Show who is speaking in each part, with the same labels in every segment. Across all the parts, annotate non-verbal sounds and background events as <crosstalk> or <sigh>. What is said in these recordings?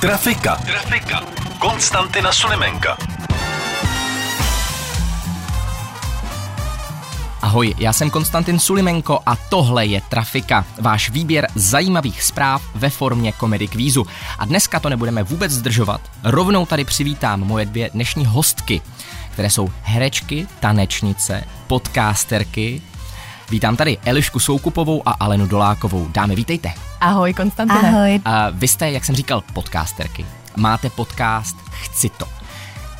Speaker 1: Trafika. Trafika. Konstantina Sulimenka.
Speaker 2: Ahoj, já jsem Konstantin Sulimenko a tohle je Trafika, váš výběr zajímavých zpráv ve formě komedy kvízu. A dneska to nebudeme vůbec zdržovat, rovnou tady přivítám moje dvě dnešní hostky, které jsou herečky, tanečnice, podcasterky. Vítám tady Elišku Soukupovou a Alenu Dolákovou. Dámy, vítejte.
Speaker 3: Ahoj, Konstantine.
Speaker 4: Ahoj.
Speaker 2: A vy jste, jak jsem říkal, podcasterky. Máte podcast Chci to.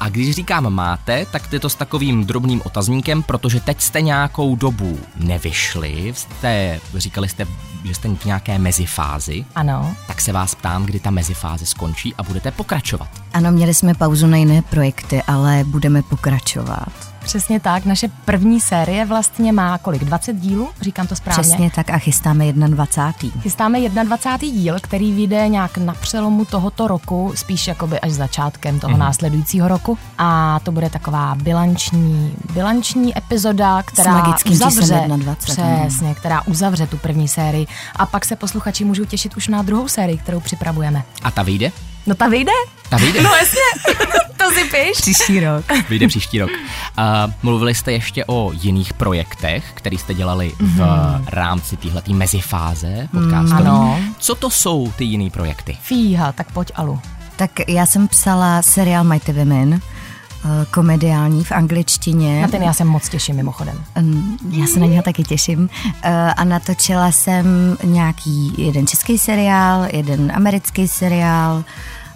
Speaker 2: A když říkám máte, tak je to s takovým drobným otazníkem, protože teď jste nějakou dobu nevyšli, jste, říkali jste, že jste v nějaké mezifázi,
Speaker 3: Ano.
Speaker 2: tak se vás ptám, kdy ta mezifáze skončí a budete pokračovat.
Speaker 4: Ano, měli jsme pauzu na jiné projekty, ale budeme pokračovat.
Speaker 3: Přesně tak, naše první série vlastně má kolik? 20 dílů? Říkám to správně.
Speaker 4: Přesně tak a chystáme 21.
Speaker 3: Chystáme 21. díl, který vyjde nějak na přelomu tohoto roku, spíš jakoby až začátkem toho mm. následujícího roku. A to bude taková bilanční, bilanční epizoda, která
Speaker 4: magickým číslem
Speaker 3: uzavře,
Speaker 4: 21, ano.
Speaker 3: přesně, která uzavře tu první sérii. A pak se posluchači můžou těšit už na druhou sérii, kterou připravujeme.
Speaker 2: A ta vyjde?
Speaker 3: No ta vyjde?
Speaker 2: Ta vyjde,
Speaker 3: No jasně, <laughs> to si piš.
Speaker 4: Příští rok.
Speaker 2: vyjde příští rok. A mluvili jste ještě o jiných projektech, které jste dělali v rámci téhleté mezifáze podcastový.
Speaker 3: Mhm. Mm, ano.
Speaker 2: Co to jsou ty jiný projekty?
Speaker 3: Fíha, tak pojď Alu.
Speaker 4: <laughs> Tak já jsem psala seriál Mighty Women, eh, komediální v angličtině.
Speaker 3: Na ten já se moc těším mimochodem.
Speaker 4: Mm, Já se na něho taky těším. Eh, A natočila jsem nějaký jeden český seriál, jeden americký seriál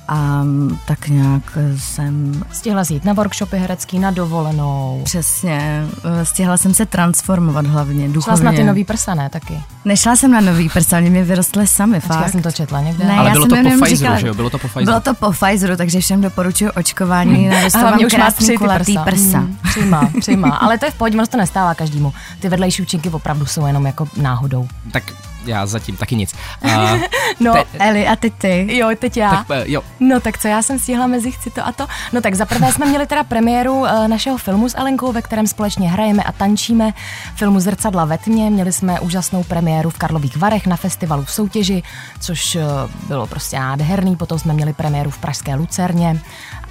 Speaker 4: a mm, tak nějak jsem
Speaker 3: Stihla jít na workshopy herecký, na dovolenou.
Speaker 4: přesně, eh, stihla jsem se transformovat hlavně
Speaker 3: Šla
Speaker 4: duchovně.
Speaker 3: jsi na ty nový prsa, ne taky?
Speaker 4: Nešla jsem na nový prsa, oni mi vyrostly sami,
Speaker 3: Počkej,
Speaker 4: fakt.
Speaker 3: já jsem to četla někde.
Speaker 4: Ne,
Speaker 2: Ale
Speaker 4: já
Speaker 2: bylo
Speaker 4: jsem
Speaker 2: to
Speaker 4: jenom
Speaker 2: po Pfizeru,
Speaker 4: říkala,
Speaker 2: že jo? Bylo to po Pfizeru.
Speaker 4: Bylo to po Pfizeru, Hmm. takže všem doporučuji očkování. Narostou vám krásný kulatý prsa. Hmm.
Speaker 3: Mm, přijímá,
Speaker 4: <laughs>
Speaker 3: přijímá. Ale to je v pohodě, ono se to nestává každému. Ty vedlejší účinky opravdu jsou jenom jako náhodou.
Speaker 2: Tak já zatím taky
Speaker 3: <laughs>
Speaker 2: nic. A,
Speaker 3: No,
Speaker 2: Te-
Speaker 4: Eli, a ty ty?
Speaker 3: jo, teď já.
Speaker 2: tak eh, jo,
Speaker 3: No tak co já jsem stihla mezi chci to a to? No tak zaprvé jsme měli teda premiéru eh, našeho filmu s Elenkou, ve kterém společně hrajeme a tančíme. Filmu Zrcadla ve tmě. Měli jsme úžasnou premiéru v Karlových Varech na festivalu v soutěži, což eh, bylo prostě nádherný. Potom jsme měli premiéru v Pražské Lucerně.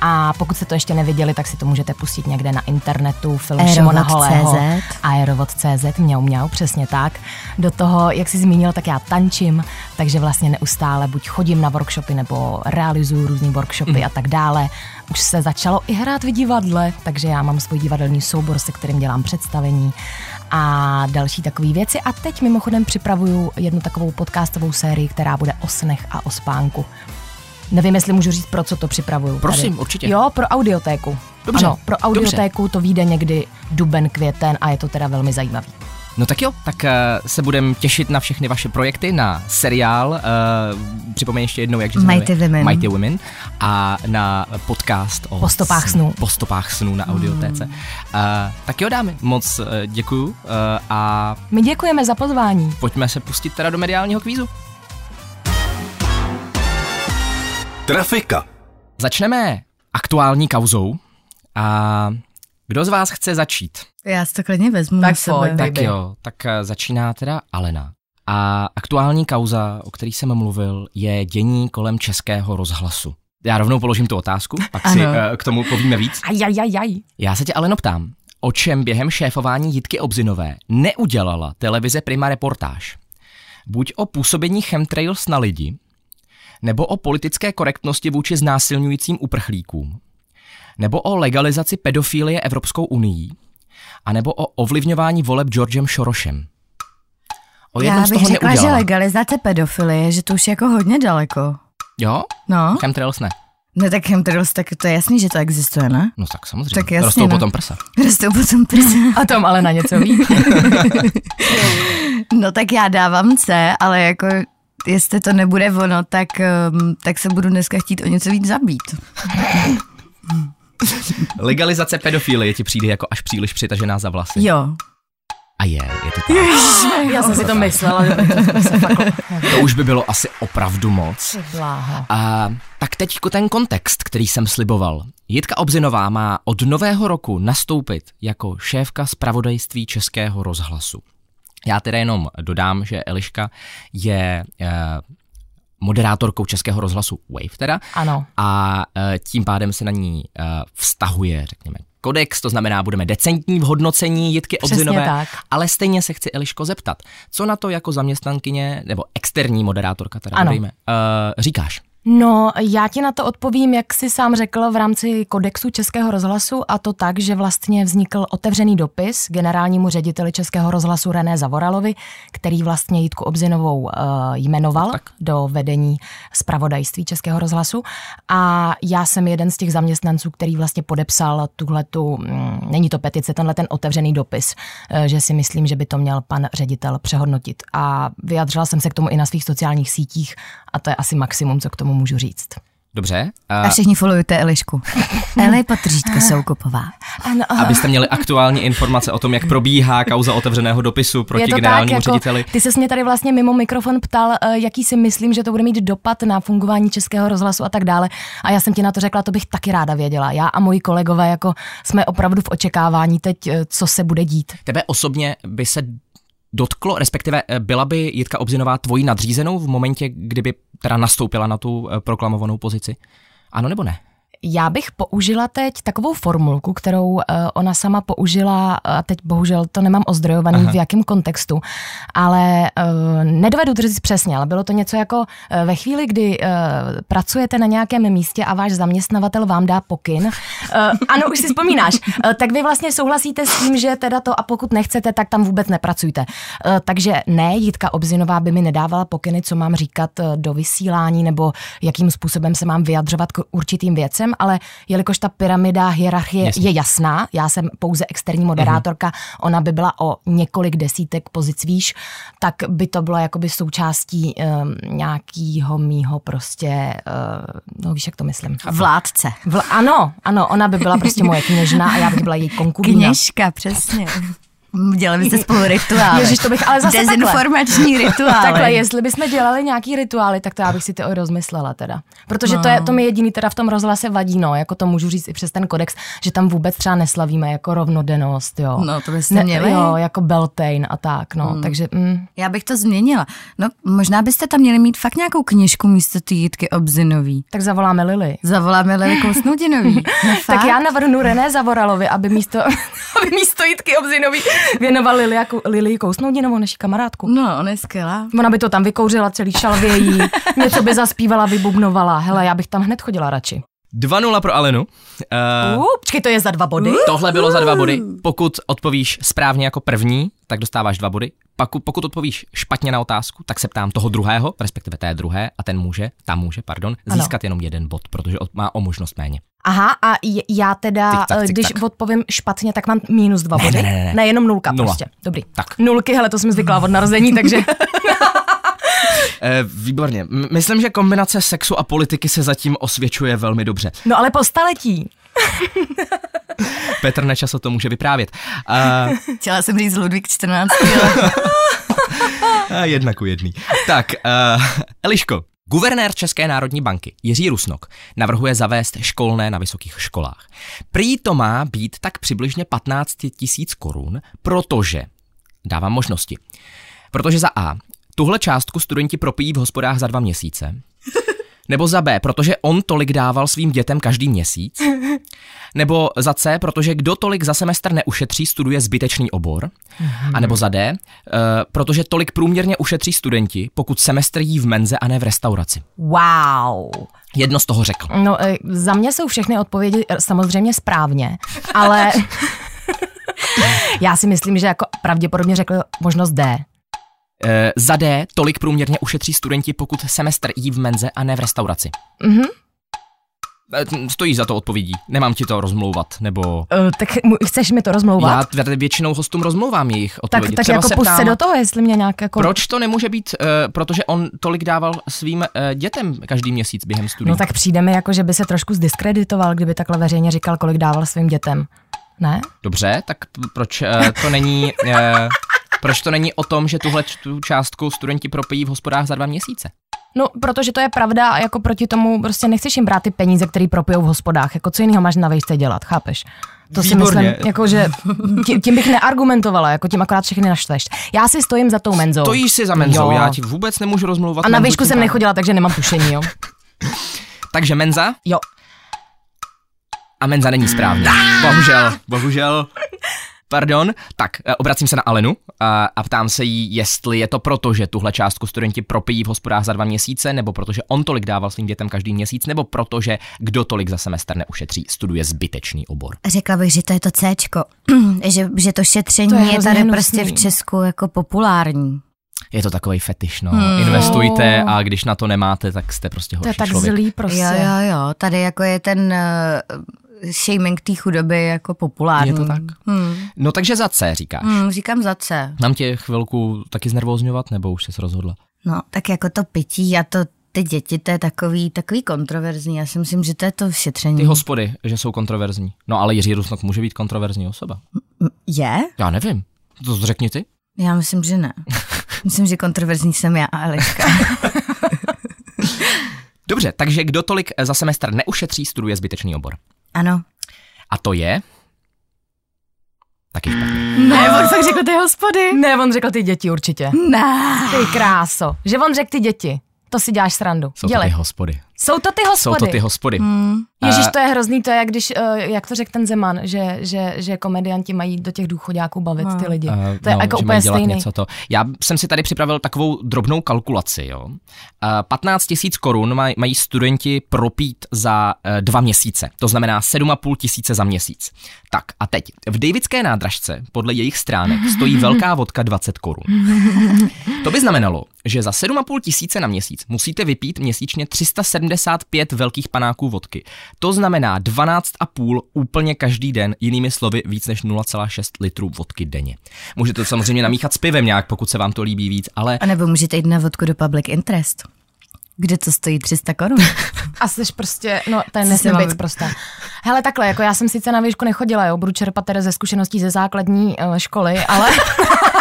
Speaker 3: A pokud jste to ještě neviděli, tak si to můžete pustit někde na internetu. Film
Speaker 4: Aerovod
Speaker 3: Šimona Holého.
Speaker 4: CZ.
Speaker 3: Aerovod.cz, mňau mňau, přesně tak. Do toho, jak jsi zmínil, tak já tančím, takže vlastně neustále buď chodím na workshopy nebo realizuju různé workshopy
Speaker 2: Mhm.
Speaker 3: a tak dále. Už se začalo i hrát v divadle, takže já mám svůj divadelní soubor, se kterým dělám představení a další takové věci. A teď mimochodem připravuju jednu takovou podcastovou sérii, která bude o snech a o spánku. Nevím, jestli můžu říct, pro co to připravuju. tady.
Speaker 2: Prosím, určitě.
Speaker 3: Jo, pro audiotéku.
Speaker 2: Dobře,
Speaker 3: ano, pro audiotéku to vyjde někdy duben, květen a je to teda velmi zajímavý.
Speaker 2: No tak jo, tak eh, se budem těšit na všechny vaše projekty, na seriál, eh, připomeň ještě jednou, jak se jmenuje?
Speaker 4: Mighty Women.
Speaker 2: Mighty Women a na podcast o
Speaker 3: Po stopách snů. Mm.
Speaker 2: Po stopách snů na audiotéce. Eh, tak jo dámy, moc eh, děkuju eh, a
Speaker 3: My děkujeme za pozvání.
Speaker 2: pojďme se pustit teda do mediálního kvízu.
Speaker 1: Trafika.
Speaker 2: Začneme aktuální kauzou a kdo z vás chce začít?
Speaker 4: Já si to klidně vezmu
Speaker 3: Tak
Speaker 4: na sebe.
Speaker 3: pojď, tak-
Speaker 2: Tak jo, tak eh, začíná teda Alena. A aktuální kauza, o který jsem mluvil, je dění kolem českého rozhlasu. Já rovnou položím tu otázku, pak si
Speaker 4: Ano.
Speaker 2: eh, k tomu povíme víc.
Speaker 3: Ajajajaj.
Speaker 2: Já se tě Aleno ptám, o čem během šéfování Jitky Obzinové neudělala televize Prima reportáž? Buď o působení chemtrails na lidi, nebo o politické korektnosti vůči znásilňujícím uprchlíkům, nebo o legalizaci pedofilie Evropskou unii, a nebo o ovlivňování voleb Georgem Šorošem. O jednom
Speaker 4: Já
Speaker 2: z
Speaker 4: bych
Speaker 2: toho
Speaker 4: řekla, že
Speaker 2: neudělala.
Speaker 4: legalizace pedofilie, že to už je jako hodně daleko.
Speaker 2: Jo?
Speaker 4: No,
Speaker 2: Chemtrails ne.
Speaker 4: no tak chemtrails, tak to je jasný, že to existuje, ne? <laughs>
Speaker 2: No tak samozřejmě.
Speaker 4: Tak jasně,
Speaker 2: Rostou
Speaker 4: no.
Speaker 2: potom prsa.
Speaker 4: Rostou potom prsa. <laughs>
Speaker 3: A tom ale na něco ví.
Speaker 4: No tak já dávám C, ale jako jestli to nebude ono, tak, ehm, tak se budu dneska chtít o něco víc zabít.
Speaker 2: Legalizace pedofilie ti přijde jako až příliš přitažená za vlasy.
Speaker 4: Jo.
Speaker 2: A je, je to tak.
Speaker 3: <laughs> Já jsem si to myslela, že
Speaker 2: To už by bylo asi opravdu moc.
Speaker 3: bláho.
Speaker 2: A tak teď ten kontext, který jsem sliboval. Jitka Obzinová má od nového roku nastoupit jako šéfka zpravodajství Českého rozhlasu. Já teda jenom dodám, že Eliška je eh, moderátorkou Českého rozhlasu Wave teda
Speaker 3: Ano.
Speaker 2: a eh, tím pádem se na ní eh, vztahuje, řekněme, kodex, to znamená, budeme decentní v hodnocení Jitky
Speaker 3: Přesně
Speaker 2: Obzinové,
Speaker 3: tak.
Speaker 2: ale stejně se chci Eliško zeptat, co na to jako zaměstnankyně, nebo externí moderátorka teda,
Speaker 3: Ano.
Speaker 2: dodejme, eh, říkáš?
Speaker 3: No, já ti na to odpovím, jak si sám řekl v rámci kodexu Českého rozhlasu a to tak, že vlastně vznikl otevřený dopis generálnímu řediteli Českého rozhlasu René Zavoralovi, který vlastně Jitku Obzinovou uh, jmenoval tak. do vedení zpravodajství Českého rozhlasu a já jsem jeden z těch zaměstnanců, který vlastně podepsal tuhletu, mm, není to petice, tenhle ten otevřený dopis, eh, že si myslím, že by to měl pan ředitel přehodnotit a vyjadřila jsem se k tomu i na svých sociálních sítích a to je asi maximum, co k tomu můžu říct.
Speaker 2: Dobře,
Speaker 4: A
Speaker 2: eh,
Speaker 4: všichni followujte <laughs> Elišku. Eli Patříčka Soukupová.
Speaker 3: Ano,
Speaker 2: <laughs> abyste měli aktuální informace o tom, jak probíhá kauza otevřeného dopisu proti generálnímu
Speaker 4: jako-
Speaker 2: řediteli.
Speaker 3: jako ty se mě tady vlastně mimo mikrofon ptal, eh, jaký si myslím, že to bude mít dopad na fungování českého rozhlasu a tak dále. A já jsem ti na to řekla, to bych taky ráda věděla. Já a moji kolegové jako jsme opravdu v očekávání teď, eh, co se bude dít.
Speaker 2: Tebe osobně by se dotklo, respektive eh, byla by Jitka Obzinová tvojí nadřízenou v momentě, kdyby teda nastoupila na tu eh, proklamovanou pozici? Ano nebo ne?
Speaker 3: Já bych použila teď takovou formulku, kterou eh, ona sama použila, a teď bohužel to nemám ozdrojovaný, Aha. v jakém kontextu, ale eh, nedovedu to říct přesně, ale bylo to něco jako eh, ve chvíli, kdy eh, pracujete na nějakém místě a váš zaměstnavatel vám dá pokyn, eh, <laughs> ano, už si vzpomínáš, eh, tak vy vlastně souhlasíte s tím, že teda to a pokud nechcete, tak tam vůbec nepracujte. Eh, takže ne, Jitka Obzinová by mi nedávala pokyny, co mám říkat eh, do vysílání nebo jakým způsobem se mám vyjadřovat k určitým věcem, ale jelikož ta pyramida hierarchie
Speaker 2: Jasně.
Speaker 3: je jasná, já jsem pouze externí moderátorka, mm-hmm. ona by byla o několik desítek pozic výš, tak by to bylo jakoby součástí um, nějakého mýho prostě, um, no víš, jak to myslím.
Speaker 4: Vládce.
Speaker 3: Vl- ano, ano, ona by byla prostě moje kněžna a já bych byla její konkubína.
Speaker 4: Kněžka, přesně. Dělali byste spolu rituály.
Speaker 3: Ježiš, to bych ale zase takhle.
Speaker 4: Dezinformační <laughs> rituály.
Speaker 3: Takhle, jestli bychom dělali nějaký rituály, tak to já bych si to rozmyslela teda. Protože no. to, je, to mi jediný teda v tom rozhlase vadí, no, jako to můžu říct i přes ten kodex, že tam vůbec třeba neslavíme jako rovnodennost, jo.
Speaker 4: No, to byste měli. Hmm.
Speaker 3: Jo, jako Beltane a tak, no, mm. takže... Mm,
Speaker 4: Já bych to změnila. No, možná byste tam měli mít fakt nějakou knižku místo té Jitky Obzinový.
Speaker 3: tak zavoláme Lily.
Speaker 4: Zavoláme Lili <laughs> Kousnoudinový. No, fakt?
Speaker 3: Tak já navrhnu René Zavoralovi, aby místo, <laughs> aby místo Jitky Obzinový věnoval Lili, jako, Lili Kousnoudinovou, naši kamarádku.
Speaker 4: No, ona je skvělá.
Speaker 3: Ona by to tam vykouřila celý šalvějí, něco by zaspívala, vybubnovala. Hele, já bych tam hned chodila radši.
Speaker 2: 2-0 pro Alenu. Eh,
Speaker 3: Uh, počkej, to je za dva body.
Speaker 2: Tohle bylo za dva body. Pokud odpovíš správně jako první, tak dostáváš dva body. Paku- Pokud odpovíš špatně na otázku, tak se ptám toho druhého, respektive té druhé, a ten může, tam může, pardon,
Speaker 3: Ano.
Speaker 2: získat jenom jeden bod, protože od- má o možnost méně.
Speaker 3: Aha, a j- já teda,
Speaker 2: Tik tak,
Speaker 3: eh,
Speaker 2: tik
Speaker 3: když
Speaker 2: tak.
Speaker 3: odpovím špatně, tak mám minus dva
Speaker 2: ne,
Speaker 3: body.
Speaker 2: ne, ne.
Speaker 3: jenom nulka
Speaker 2: Nula.
Speaker 3: prostě. Dobrý.
Speaker 2: Tak.
Speaker 3: Nulky, hele, to jsem zvyklá od narození, takže
Speaker 2: <laughs> Eh, výborně. M- myslím, že kombinace sexu a politiky se zatím osvědčuje velmi dobře.
Speaker 3: no ale po staletí.
Speaker 2: Petr Nečas o tom může vyprávět. Eh,
Speaker 4: Chtěla jsem říct Ludvík 14.
Speaker 2: A Eh, jedna ku jedný. Tak, uh, Eliško, guvernér České národní banky Jiří Rusnok navrhuje zavést školné na vysokých školách. Prý to má být tak přibližně 15 tisíc korun, protože, dávám možnosti, protože za A, tuhle částku studenti propijí v hospodách za dva měsíce, nebo za B, protože on tolik dával svým dětem každý měsíc, nebo za C, protože kdo tolik za semestr neušetří, studuje zbytečný obor. A nebo za D, e, protože tolik průměrně ušetří studenti, pokud semestr jí v menze a ne v restauraci.
Speaker 3: Wow.
Speaker 2: Jedno z toho řekl.
Speaker 3: No, eh, za mě jsou všechny odpovědi eh, samozřejmě správně,
Speaker 2: <laughs>
Speaker 3: ale já si myslím, že jako pravděpodobně řekl možnost D.
Speaker 2: E, za D,
Speaker 3: Mhm.
Speaker 2: tolik průměrně ušetří studenti, pokud semestr jí v menze a ne v restauraci. Eh, Stojí za to odpovědí. Nemám ti to rozmlouvat, nebo...
Speaker 3: Uh, tak mu- chceš mi to rozmlouvat?
Speaker 2: Já t- většinou hostům rozmlouvám jejich
Speaker 3: tak,
Speaker 2: odpovědi.
Speaker 3: tak
Speaker 2: Třeba
Speaker 3: jako
Speaker 2: se
Speaker 3: pust
Speaker 2: ptám,
Speaker 3: se do toho, jestli mě nějak jako...
Speaker 2: Proč to nemůže být? eh, protože on tolik dával svým eh, dětem každý měsíc během studií.
Speaker 3: No tak přijde mi jako, že by se trošku zdiskreditoval, kdyby takhle veřejně říkal, kolik dával svým dětem. Ne?
Speaker 2: Dobře, tak p- proč eh, to není... eh, proč to není o tom, že tuhle tu částku studenti propijí v hospodách za dva měsíce?
Speaker 3: No, protože to je pravda a jako proti tomu prostě nechceš jim brát ty peníze, které propijou v hospodách. Jako co jiného máš na vejšce dělat, chápeš? To si
Speaker 2: Výborně.
Speaker 3: myslím, jako, že tím, tím bych neargumentovala, jako tím akorát všechny naštveš. Já si stojím za tou menzou.
Speaker 2: To jíš si za menzou,
Speaker 3: Jo.
Speaker 2: já ti vůbec nemůžu rozmlouvat.
Speaker 3: A na
Speaker 2: menzu
Speaker 3: výšku
Speaker 2: tím
Speaker 3: jsem
Speaker 2: pádem.
Speaker 3: nechodila, takže nemám tušení, <laughs> jo.
Speaker 2: Takže menza
Speaker 3: Jo.
Speaker 2: a menza není správně. Bohužel, bohužel. Pardon. Tak, eh, obracím se na Alenu a, a ptám se jí, jestli je to proto, že tuhle částku studenti propijí v hospodách za dva měsíce, nebo protože on tolik dával svým dětem každý měsíc, nebo protože kdo tolik za semestr neušetří, studuje zbytečný obor.
Speaker 4: <laughs> Řekla bych, že to je to Cčko, <clears throat> že, že to šetření
Speaker 3: To je
Speaker 4: je,
Speaker 3: hrozně
Speaker 4: tady
Speaker 3: hnusný.
Speaker 4: prostě v Česku jako populární.
Speaker 2: Je to takový fetiš, no. Hmm. Investujte a když na to nemáte, tak jste prostě
Speaker 3: To
Speaker 2: horší
Speaker 3: je tak
Speaker 2: člověk.
Speaker 3: zlý prostě.
Speaker 4: Jo, jo, jo, tady jako je ten uh, shaming té chudoby jako populární.
Speaker 2: Je to tak?
Speaker 4: Hmm.
Speaker 2: No takže za C říkáš. Hmm.
Speaker 4: Hmm, říkám za C.
Speaker 2: Mám tě chvilku taky znervozňovat, nebo už jsi se rozhodla?
Speaker 4: No, tak jako to pití a to ty děti, to je takový, takový kontroverzní. Já si myslím, že to je to
Speaker 2: Ty
Speaker 4: šetření.
Speaker 3: Hmm.
Speaker 2: hospody, že jsou kontroverzní. No ale Jiří Rusnok může být kontroverzní osoba.
Speaker 4: Je?
Speaker 2: Já nevím. To řekni ty.
Speaker 4: Já myslím,
Speaker 2: <laughs>
Speaker 4: že ne. Myslím, že kontroverzní jsem já a Eliška.
Speaker 2: Dobře, takže kdo tolik za semestr neušetří, studuje zbytečný obor.
Speaker 4: Ano.
Speaker 2: A to je... Taky špatně.
Speaker 3: Ne, on tak řekl ty hospody. Ne, on řekl ty děti určitě.
Speaker 4: Ne.
Speaker 3: Ty kráso. Že on řekl ty děti. To si děláš srandu.
Speaker 2: Jsou to
Speaker 3: Dělej.
Speaker 2: ty hospody.
Speaker 3: Jsou to ty
Speaker 2: Jsou
Speaker 3: hospody.
Speaker 2: to ty hospody. Hmm.
Speaker 3: Ježíš, to je hrozný, to je jak když, eh, jak to řekl ten Zeman, že, že, že komedianti mají do těch důchodáků bavit ty lidi. To je jako
Speaker 2: Eh, že mají
Speaker 3: úplně
Speaker 2: no, dělat
Speaker 3: stejný.
Speaker 2: Něco to. Já jsem si tady připravil takovou drobnou kalkulaci. Jo? Eh, 15 tisíc korun maj, mají studenti propít za eh, dva měsíce, to znamená 7,5 tisíce za měsíc. Tak a teď, v Davidské nádražce podle jejich stránek stojí velká vodka 20 korun. To by znamenalo, že za 7,5 tisíce na měsíc musíte vypít měsíčně 375 velkých panáků vodky. To znamená 12,5 úplně každý den, jinými slovy víc než 0,6 litrů vodky denně. Můžete to samozřejmě namíchat s pivem nějak, pokud se vám to líbí víc, ale
Speaker 4: A nebo můžete jít na vodku do Public Interest, kde to stojí 300 korun.
Speaker 3: A jsi prostě, no to je
Speaker 4: si
Speaker 3: nesmím
Speaker 4: mám-
Speaker 3: být prostě. Hele, takhle, jako já jsem sice na výšku nechodila, jo, budu čerpat teda ze zkušeností ze základní eh, školy, ale... <laughs>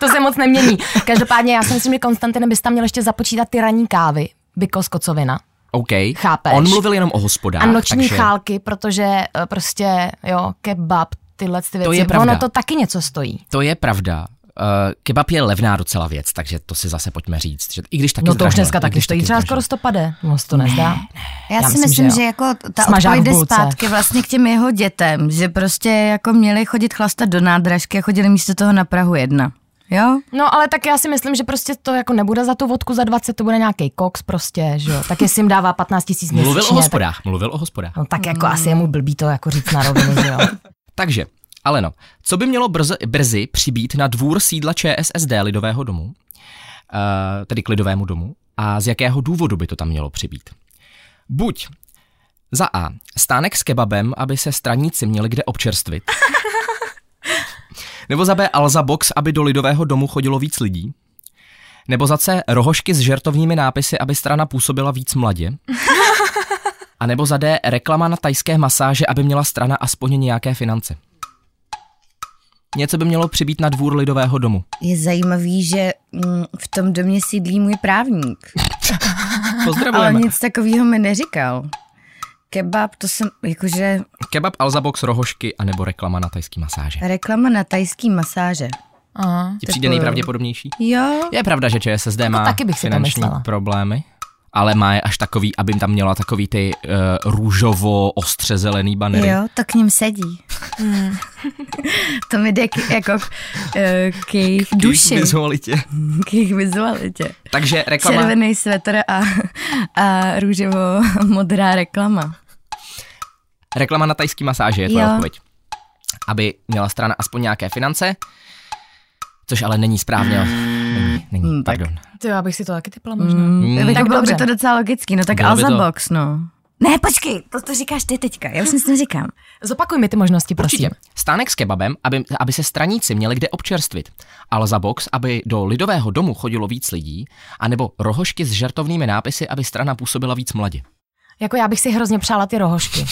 Speaker 3: to se moc nemění. Každopádně já si myslím, že Konstantine bys tam měl ještě započítat ty ranní kávy. Bykos kocovina.
Speaker 2: OK.
Speaker 3: Chápeš.
Speaker 2: On mluvil jenom o hospodách.
Speaker 3: a noční
Speaker 2: takže...
Speaker 3: takže... chálky, protože eh, prostě, jo, kebab, tyhle ty věci.
Speaker 2: je pravda.
Speaker 3: Ono to taky něco stojí.
Speaker 2: To je pravda. Uh, kebab je levná docela věc, takže to si zase pojďme říct. Že I když taky
Speaker 3: no to už
Speaker 2: zdražil,
Speaker 3: dneska
Speaker 2: i
Speaker 3: taky
Speaker 2: když
Speaker 3: stojí, třeba skoro
Speaker 2: zdražil.
Speaker 3: 150. Moc to nezdá.
Speaker 4: Já, si myslím, že,
Speaker 3: jo.
Speaker 4: jako ta
Speaker 3: Smažák
Speaker 4: odpověď
Speaker 3: v
Speaker 4: jde
Speaker 3: bulce.
Speaker 4: zpátky vlastně k těm jeho dětem, že prostě jako měli chodit chlastat do nádražky a chodili místo toho na Prahu jedna. Jo?
Speaker 3: No ale tak já si myslím, že prostě to jako nebude za tu vodku za 20, to bude nějaký koks prostě, že jo. Tak jestli jim dává 15 tisíc měsíčně.
Speaker 2: Mluvil o
Speaker 3: tak-
Speaker 2: hospodách, mluvil o hospodách.
Speaker 3: No tak jako asi je mu blbý to jako říct na rovinu, <laughs> že jo.
Speaker 2: Takže, Aleno, co by mělo brzo, brzy přibít na dvůr sídla ČSSD Lidového domu, uh, tedy k Lidovému domu, a z jakého důvodu by to tam mělo přibít? Buď za A. Stánek s kebabem, aby se straníci měli kde občerstvit. Nebo za B. Alza Box, aby do Lidového domu chodilo víc lidí. Nebo za C. Rohošky s žertovními nápisy, aby strana působila víc mladě. A nebo za D. Reklama na tajské masáže, aby měla strana aspoň nějaké finance. Něco by mělo přibít na dvůr lidového domu.
Speaker 4: Je zajímavý, že mm, v tom domě sídlí můj právník. Ale
Speaker 2: Pozdravujeme.
Speaker 4: nic takového mi neříkal. Kebab, to jsem, jakože
Speaker 2: Kebab, Alza Box, rohošky a nebo reklama na tajský masáže.
Speaker 4: reklama na tajský masáže.
Speaker 3: Aha.
Speaker 2: Ti přijde nejpravděpodobnější?
Speaker 4: Jo,
Speaker 2: Je pravda, že ČSSD má
Speaker 3: Jako taky bych si to
Speaker 2: finanční
Speaker 3: myslela.
Speaker 2: problémy, ale má je až takový, aby tam měla takový ty uh, růžovo-ostře zelený banery.
Speaker 4: jo, to k ním sedí. Hmm. <laughs> to mi jde k, jako eh, k jejich duši,
Speaker 2: Vizualitě.
Speaker 4: <laughs> k jejich vizualitě.
Speaker 2: Takže reklama...
Speaker 4: Červený svetr a, a růžovo-modrá reklama.
Speaker 2: Reklama na tajský masáže je tvoje
Speaker 4: Jo.
Speaker 2: odpověď. Aby měla strana aspoň nějaké finance, což ale není správně. jo. Není, není,
Speaker 4: Hmm, tak.
Speaker 2: pardon.
Speaker 3: Ty, já bych si to taky typla možná.
Speaker 2: Hmm.
Speaker 4: Mm, tak
Speaker 3: Tak
Speaker 4: bylo by
Speaker 3: dobře.
Speaker 4: to docela logicky, no tak
Speaker 2: Bylo by
Speaker 4: Alza
Speaker 2: to.
Speaker 4: Box, no. Ne, počkej, to, to říkáš ty teďka, já už nic neříkám.
Speaker 3: Zopakuj mi ty možnosti, prosím.
Speaker 2: Určitě. Stánek s kebabem, aby, aby se straníci měli kde občerstvit. Alza box, aby do lidového domu chodilo víc lidí. A nebo rohošky s žartovnými nápisy, aby strana působila víc mladě.
Speaker 3: Jako já bych si hrozně přála ty rohošky.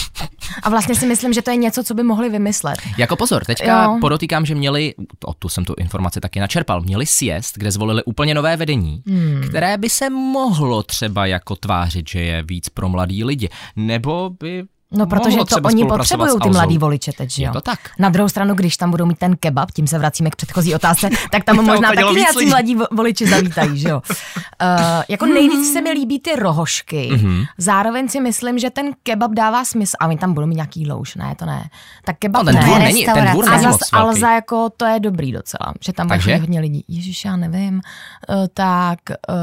Speaker 3: A vlastně si myslím, že to je něco, co by mohli vymyslet.
Speaker 2: Jako pozor, teďka
Speaker 3: Jo.
Speaker 2: jo. podotýkám, že měli, o tu jsem tu informaci taky načerpal, měli siest, kde zvolili úplně nové vedení, hmm. které by se mohlo třeba jako tvářit, že je víc pro mladý lidi. Nebo by
Speaker 3: No, protože
Speaker 2: mohlo
Speaker 3: to
Speaker 2: třeba
Speaker 3: oni
Speaker 2: spolupracovat
Speaker 3: potřebují
Speaker 2: s
Speaker 3: ty
Speaker 2: Alzou.
Speaker 3: mladý voliče teď, že
Speaker 2: Je
Speaker 3: jo?
Speaker 2: to tak.
Speaker 3: Na druhou stranu, když tam budou mít ten kebab, tím se vracíme k
Speaker 2: <laughs>
Speaker 3: předchozí otázce, tak tam možná
Speaker 2: upadlo
Speaker 3: taky
Speaker 2: víc
Speaker 3: nějací
Speaker 2: lidí.
Speaker 3: mladí vo- voliči zavítají,
Speaker 2: <laughs>
Speaker 3: že jo? Uh, jako
Speaker 2: Mhm.
Speaker 3: nejvíc se mi líbí ty rohošky. Zároveň si myslím, že ten kebab dává smysl. A my tam budou mít nějaký louš, ne, to ne. Tak kebab
Speaker 2: No, ten dvůr
Speaker 3: ne.
Speaker 2: není, ten dvůr
Speaker 4: restaurace.
Speaker 3: A
Speaker 2: není
Speaker 3: zas
Speaker 2: moc velký.
Speaker 3: Alza, jako to je dobrý docela, že tam
Speaker 2: Takže?
Speaker 3: Takže? hodně lidí. Ježíš, já nevím. Uh, tak, uh,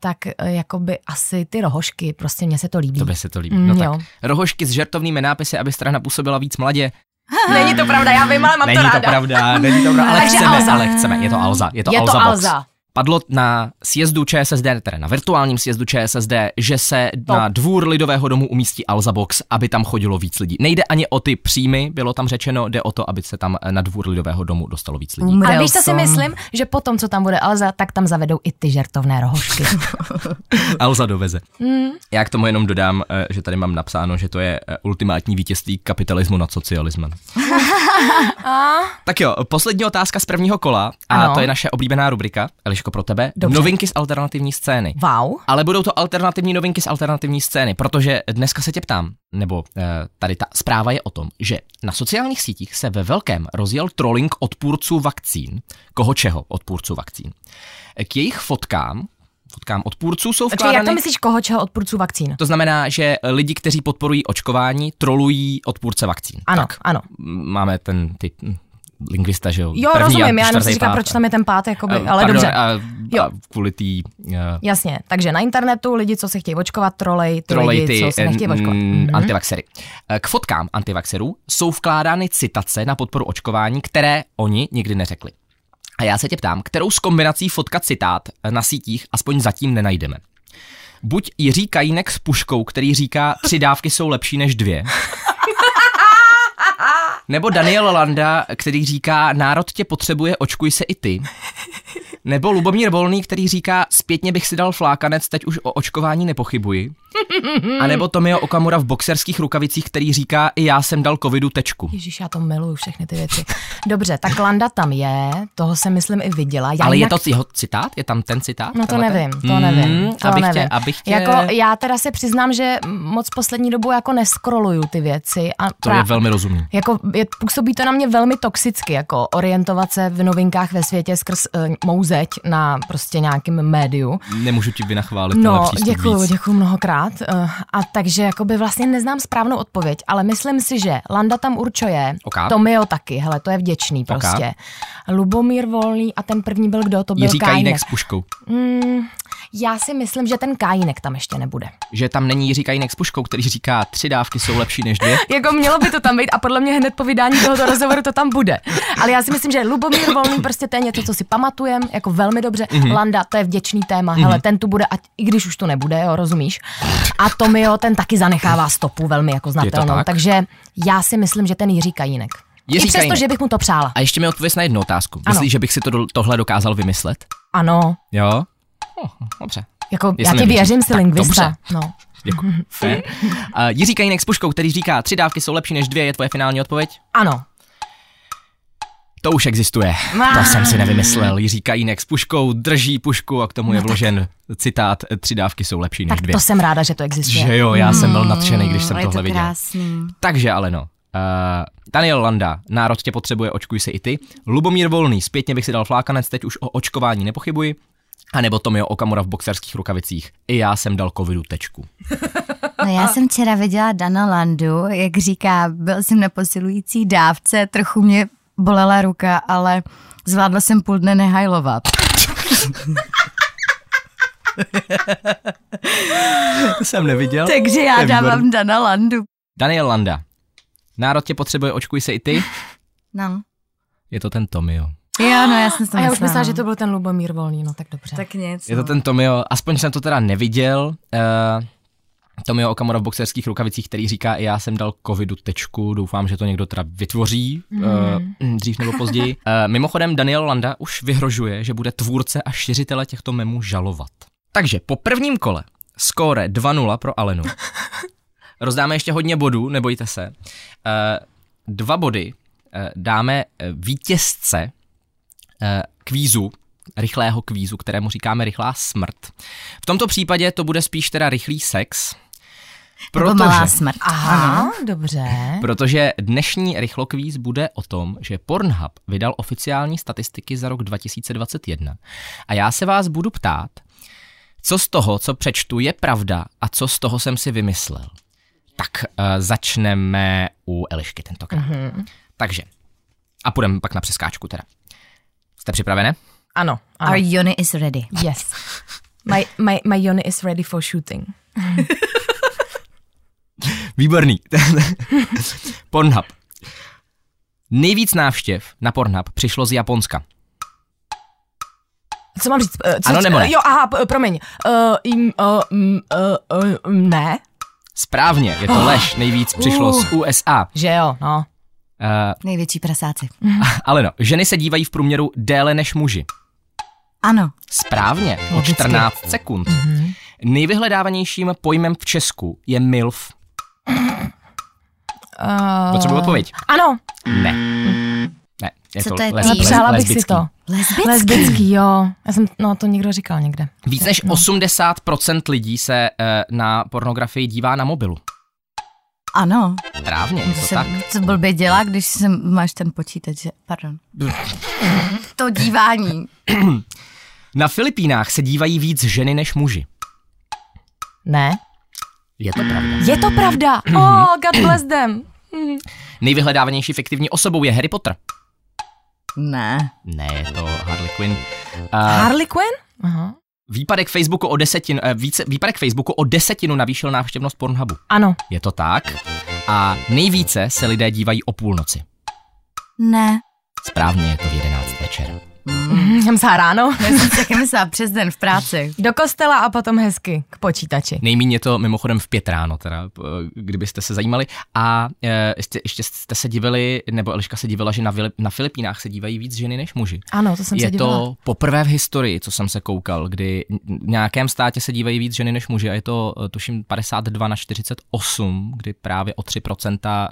Speaker 3: tak uh, jakoby asi ty rohošky, prostě mně se to líbí.
Speaker 2: Tobě se to líbí.
Speaker 3: Mm,
Speaker 2: No tak.
Speaker 3: jo.
Speaker 2: Rohošky s žertovnými nápisy, aby strana působila víc mladě.
Speaker 3: <laughs> Není to pravda, já vím, ale mám
Speaker 2: není to pravda, není
Speaker 3: <laughs>
Speaker 2: to pravda, ale
Speaker 3: Takže
Speaker 2: chceme,
Speaker 3: Alza.
Speaker 2: ale chceme. Je to Alza, je to
Speaker 3: Je to
Speaker 2: Alza box.
Speaker 3: Alza.
Speaker 2: Padlo na sjezdu ČSSD, teda na virtuálním sjezdu ČSSD, že se
Speaker 3: Top.
Speaker 2: na dvůr Lidového domu umístí Alza Box, aby tam chodilo víc lidí. Nejde ani o ty příjmy, bylo tam řečeno, jde o to, aby se tam eh, na dvůr Lidového domu dostalo víc lidí.
Speaker 3: A
Speaker 4: Umrel
Speaker 3: víš, co si
Speaker 4: jsem.
Speaker 3: myslím? Že potom, co tam bude Alza, tak tam zavedou i ty žertovné rohošky.
Speaker 2: <laughs> Alza doveze. Já k tomu jenom dodám, eh, že tady mám napsáno, že to je eh, ultimátní vítězství kapitalismu nad
Speaker 3: <laughs>
Speaker 2: socialismem. tak jo, poslední otázka z prvního kola a
Speaker 3: Ano.
Speaker 2: to je naše oblíbená rubrika, Eliško pro tebe,
Speaker 3: Dobře.
Speaker 2: novinky z alternativní scény.
Speaker 3: <laughs> Wow.
Speaker 2: Ale budou to alternativní novinky z alternativní scény, protože dneska se tě ptám, nebo eh, tady ta zpráva je o tom, že na sociálních sítích se ve velkém rozjel trolling odpůrců vakcín. Koho čeho odpůrců vakcín? K jejich fotkám, fotkám odpůrců jsou
Speaker 3: Počkej,
Speaker 2: vkládány...
Speaker 3: jak to myslíš, koho čeho odpůrců vakcín?
Speaker 2: To znamená, že lidi, kteří podporují očkování, trolují odpůrce vakcín.
Speaker 3: Ano,
Speaker 2: Tak.
Speaker 3: ano.
Speaker 2: M- Máme ten ty hm, lingvista, že jo?
Speaker 3: Jo,
Speaker 2: první a
Speaker 3: rozumím, já jenom si
Speaker 2: čtvrtý,
Speaker 3: říkám,
Speaker 2: pátý.
Speaker 3: proč tam je ten pát, jakoby,
Speaker 2: Eh,
Speaker 3: ale
Speaker 2: Pardon,
Speaker 3: dobře.
Speaker 2: A,
Speaker 3: Jo.
Speaker 2: a kvůli tý, uh,
Speaker 3: Jasně, takže na internetu lidi, co se chtějí očkovat, trolej, ty
Speaker 2: trolej
Speaker 3: lidi,
Speaker 2: ty
Speaker 3: co se nechtějí
Speaker 2: eh,
Speaker 3: očkovat. Mhm.
Speaker 2: mm, antivaxery. Eh, K fotkám antivaxerů jsou vkládány citace na podporu očkování, které oni nikdy neřekli. A já se tě ptám, kterou z kombinací fotka citát eh, na sítích aspoň zatím nenajdeme? Buď Jiří Kajínek s puškou, který říká, tři dávky jsou lepší než dvě. Nebo Daniel Landa, který říká, národ tě potřebuje, očkuj se i ty. Nebo Lubomír Volný, který říká, zpětně bych si dal flákanec, teď už o očkování nepochybuji. A nebo Tomio Okamura v boxerských rukavicích, který říká, i já jsem dal covidu tečku.
Speaker 3: Ježíš, já to miluju, všechny ty věci. Dobře, tak Landa tam je, toho jsem myslím i viděla. Já
Speaker 2: Ale je
Speaker 3: jinak
Speaker 2: to jeho citát? Je tam ten citát?
Speaker 3: No to
Speaker 2: Tenhle ten?
Speaker 3: nevím, to nevím, to
Speaker 2: abych
Speaker 3: nevím.
Speaker 2: Tě, abych tě...
Speaker 3: Jako já teda se přiznám, že moc poslední dobu jako neskroluju ty věci. A
Speaker 2: To je velmi rozumný.
Speaker 3: Jako je, působí to na mě velmi toxicky, jako orientovat se v novinkách ve světě skrz uh, mou zeď na prostě nějakým médiu.
Speaker 2: Nemůžu ti vynachválit tenhle
Speaker 3: No,
Speaker 2: přístup
Speaker 3: děkuju,
Speaker 2: víc.
Speaker 3: děkuju mnohokrát. Uh, a takže jakoby vlastně neznám správnou odpověď, ale myslím si, že Landa tam určuje,
Speaker 2: Ok.
Speaker 3: Tomio taky, hele, to je vděčný prostě. Lubomír Volný a ten první byl kdo? To byl
Speaker 2: Jiří
Speaker 3: Kajínek.
Speaker 2: Kajínek s puškou.
Speaker 3: Mm, já si myslím, že ten Kajínek tam ještě nebude.
Speaker 2: Že tam není Jiří Kajínek s puškou, který říká, tři dávky jsou lepší než dvě.
Speaker 3: Jako mělo by to tam být a podle mě hned po vydání tohoto rozhovoru to tam bude. Ale já si myslím, že Lubomír Volný prostě to je něco, co si pamatujem, jako velmi dobře.
Speaker 2: Mhm.
Speaker 3: Mm-hmm. Landa, to je vděčný téma, mm-hmm. hele, ten tu bude, ať, i když už tu nebude, jo, rozumíš? A Tomio, ten taky zanechává stopu velmi jako znatelnou,
Speaker 2: tak?
Speaker 3: tak? takže já si myslím, že ten Jiří Kajínek.
Speaker 2: Jiří
Speaker 3: I přesto,
Speaker 2: Kajínek.
Speaker 3: že bych mu to přála.
Speaker 2: A ještě mi odpověz na jednu otázku.
Speaker 3: Ano.
Speaker 2: Myslíš, že bych si to, do- tohle dokázal vymyslet?
Speaker 3: Ano,
Speaker 2: Jo. Oh, dobře.
Speaker 3: jako já
Speaker 2: Jestli
Speaker 3: ti
Speaker 2: nevěří.
Speaker 3: věřím, si
Speaker 2: Tak
Speaker 3: lingvista.
Speaker 2: dobře.
Speaker 3: No. <laughs>
Speaker 2: Děkuji. Fair. Uh, Jiří Kajínek s puškou, který říká, tři dávky jsou lepší než dvě, je tvoje finální odpověď?
Speaker 3: Ano,
Speaker 2: To už existuje. To jsem si nevymyslel. Jiří Kajínek s puškou drží pušku a k tomu je vložen citát, tři dávky jsou lepší než
Speaker 3: No tak
Speaker 2: dvě.
Speaker 3: to Hmm, jsem ráda, že to existuje.
Speaker 2: Že jo, já jsem byl nadšený, když jsem
Speaker 4: Ale je
Speaker 2: tohle
Speaker 4: to
Speaker 2: viděl.
Speaker 4: krásný.
Speaker 2: Takže Aleno, uh, Daniel Landa, národ tě potřebuje, očkuj se i ty. Lubomír Volný, zpětně bych si dal flákanec, teď už o očkování nepochybuji. A nebo Tomio Okamura v boxerských rukavicích. I já jsem dal covidu tečku.
Speaker 4: No já jsem včera viděla Dana Landu, jak říká, byl jsem na posilující dávce, trochu mě bolela ruka, ale zvládla jsem půl
Speaker 2: <laughs>
Speaker 4: dne nehajlovat.
Speaker 2: To jsem neviděl.
Speaker 4: Takže já dávám Dana Landu.
Speaker 2: Daniel Landa, národ tě potřebuje, očkuj se i ty.
Speaker 4: No.
Speaker 2: Je to ten Tomio.
Speaker 4: Jo, no já jsem to
Speaker 3: A já už myslela, že to byl ten Lubomír Volný, no tak dobře.
Speaker 4: Tak nic.
Speaker 2: Je to ten Tomio, aspoň jsem to teda neviděl. Uh, Tomio Okamura v boxerských rukavicích, který říká, já jsem dal covidu tečku, doufám, že to někdo teda vytvoří mm. uh, <laughs> dřív nebo později. uh, mimochodem Daniel Landa už vyhrožuje, že bude tvůrce a šiřitele těchto memů žalovat. Takže po prvním kole skóre 2-0 pro Alenu. Rozdáme ještě hodně bodů, nebojte se. Uh, dva body uh, dáme eh, vítězce uh, kvízu, rychlého kvízu, kterému říkáme rychlá smrt. V tomto případě to bude spíš teda rychlý sex,
Speaker 4: Nebo malá smrt.
Speaker 3: Aha, dobře.
Speaker 2: Protože dnešní rychlokvíz bude o tom, že Pornhub vydal oficiální statistiky za rok 2021. A já se vás budu ptát, co z toho, co přečtu, je pravda a co z toho jsem si vymyslel. Tak uh, začneme u Elišky tentokrát. Mm-hmm. Takže, a půjdeme pak na přeskáčku teda. Jste připravené?
Speaker 3: Ano, ano.
Speaker 4: Our Yoni is ready.
Speaker 3: Yes. My, my, my Yoni is ready for shooting.
Speaker 2: Výborný. <laughs> Pornhub. Nejvíc návštěv na Pornhub přišlo z Japonska.
Speaker 3: Co mám říct? Eh, Co
Speaker 2: Ano,
Speaker 3: říct?
Speaker 2: nebo ne?
Speaker 3: Eh, Jo, aha, p- promiň. Uh, im, uh, mm, uh, uh, ne,
Speaker 2: Správně, je to
Speaker 3: Oh.
Speaker 2: lež. Nejvíc přišlo z USA.
Speaker 3: že jo, no.
Speaker 2: Eh,
Speaker 4: Největší prasáci.
Speaker 2: Ale no, ženy se dívají v průměru déle než muži.
Speaker 4: Ano.
Speaker 2: Správně, o 14 sekund.
Speaker 3: Mhm.
Speaker 2: Nejvyhledávanějším pojmem v Česku je MILF.
Speaker 3: Uh,
Speaker 2: Potřebuji odpověď.
Speaker 3: Ano, eh,
Speaker 2: Ne. Ne, je
Speaker 4: Co
Speaker 2: to,
Speaker 4: to je?
Speaker 2: les,
Speaker 4: Ale
Speaker 2: les,
Speaker 3: přála bych si
Speaker 2: lesbický.
Speaker 3: to.
Speaker 4: Lesbický?
Speaker 3: Lesbický, jo. Já jsem, no to někdo říkal někde.
Speaker 2: Víc než
Speaker 3: No.
Speaker 2: 80% lidí se eh, na pornografii dívá na mobilu.
Speaker 4: Ano.
Speaker 2: Správně, je to
Speaker 4: Se,
Speaker 2: tak.
Speaker 4: co blbě dělá, když se máš ten počítač, že... <laughs> Pardon. to dívání.
Speaker 2: Na Filipínách se dívají víc ženy než muži.
Speaker 3: Ne.
Speaker 2: Je to pravda.
Speaker 3: Je to pravda.
Speaker 2: Mhm.
Speaker 3: Oh, God bless them.
Speaker 2: Nejvyhledávanější fiktivní osobou je Harry Potter.
Speaker 4: Ne.
Speaker 2: Ne, je to Harley Quinn.
Speaker 3: Harley Quinn? Aha.
Speaker 2: Výpadek Facebooku o desetinu, eh, více, výpadek Facebooku o desetinu navýšil návštěvnost Pornhubu.
Speaker 3: Ano.
Speaker 2: Je to tak. A nejvíce se lidé dívají o půlnoci.
Speaker 4: Ne.
Speaker 2: Správně je to v 11 večer.
Speaker 3: Mhm, Jsem se ráno.
Speaker 4: Já jsem si taky myslela přes den v práci.
Speaker 3: Do kostela a potom hezky k počítači.
Speaker 2: Nejméně je to mimochodem v pět ráno, teda, p- kdybyste se zajímali. A e, ještě, ještě jste se divili, nebo Eliška se divila, že na, Vili- na Filipínách se dívají víc ženy než muži.
Speaker 3: Ano, to jsem
Speaker 2: je
Speaker 3: se dívala.
Speaker 2: to poprvé v historii, co jsem se koukal, kdy v nějakém státě se dívají víc ženy než muži a je to eh, tuším 52 na 48, kdy právě o 3% eh,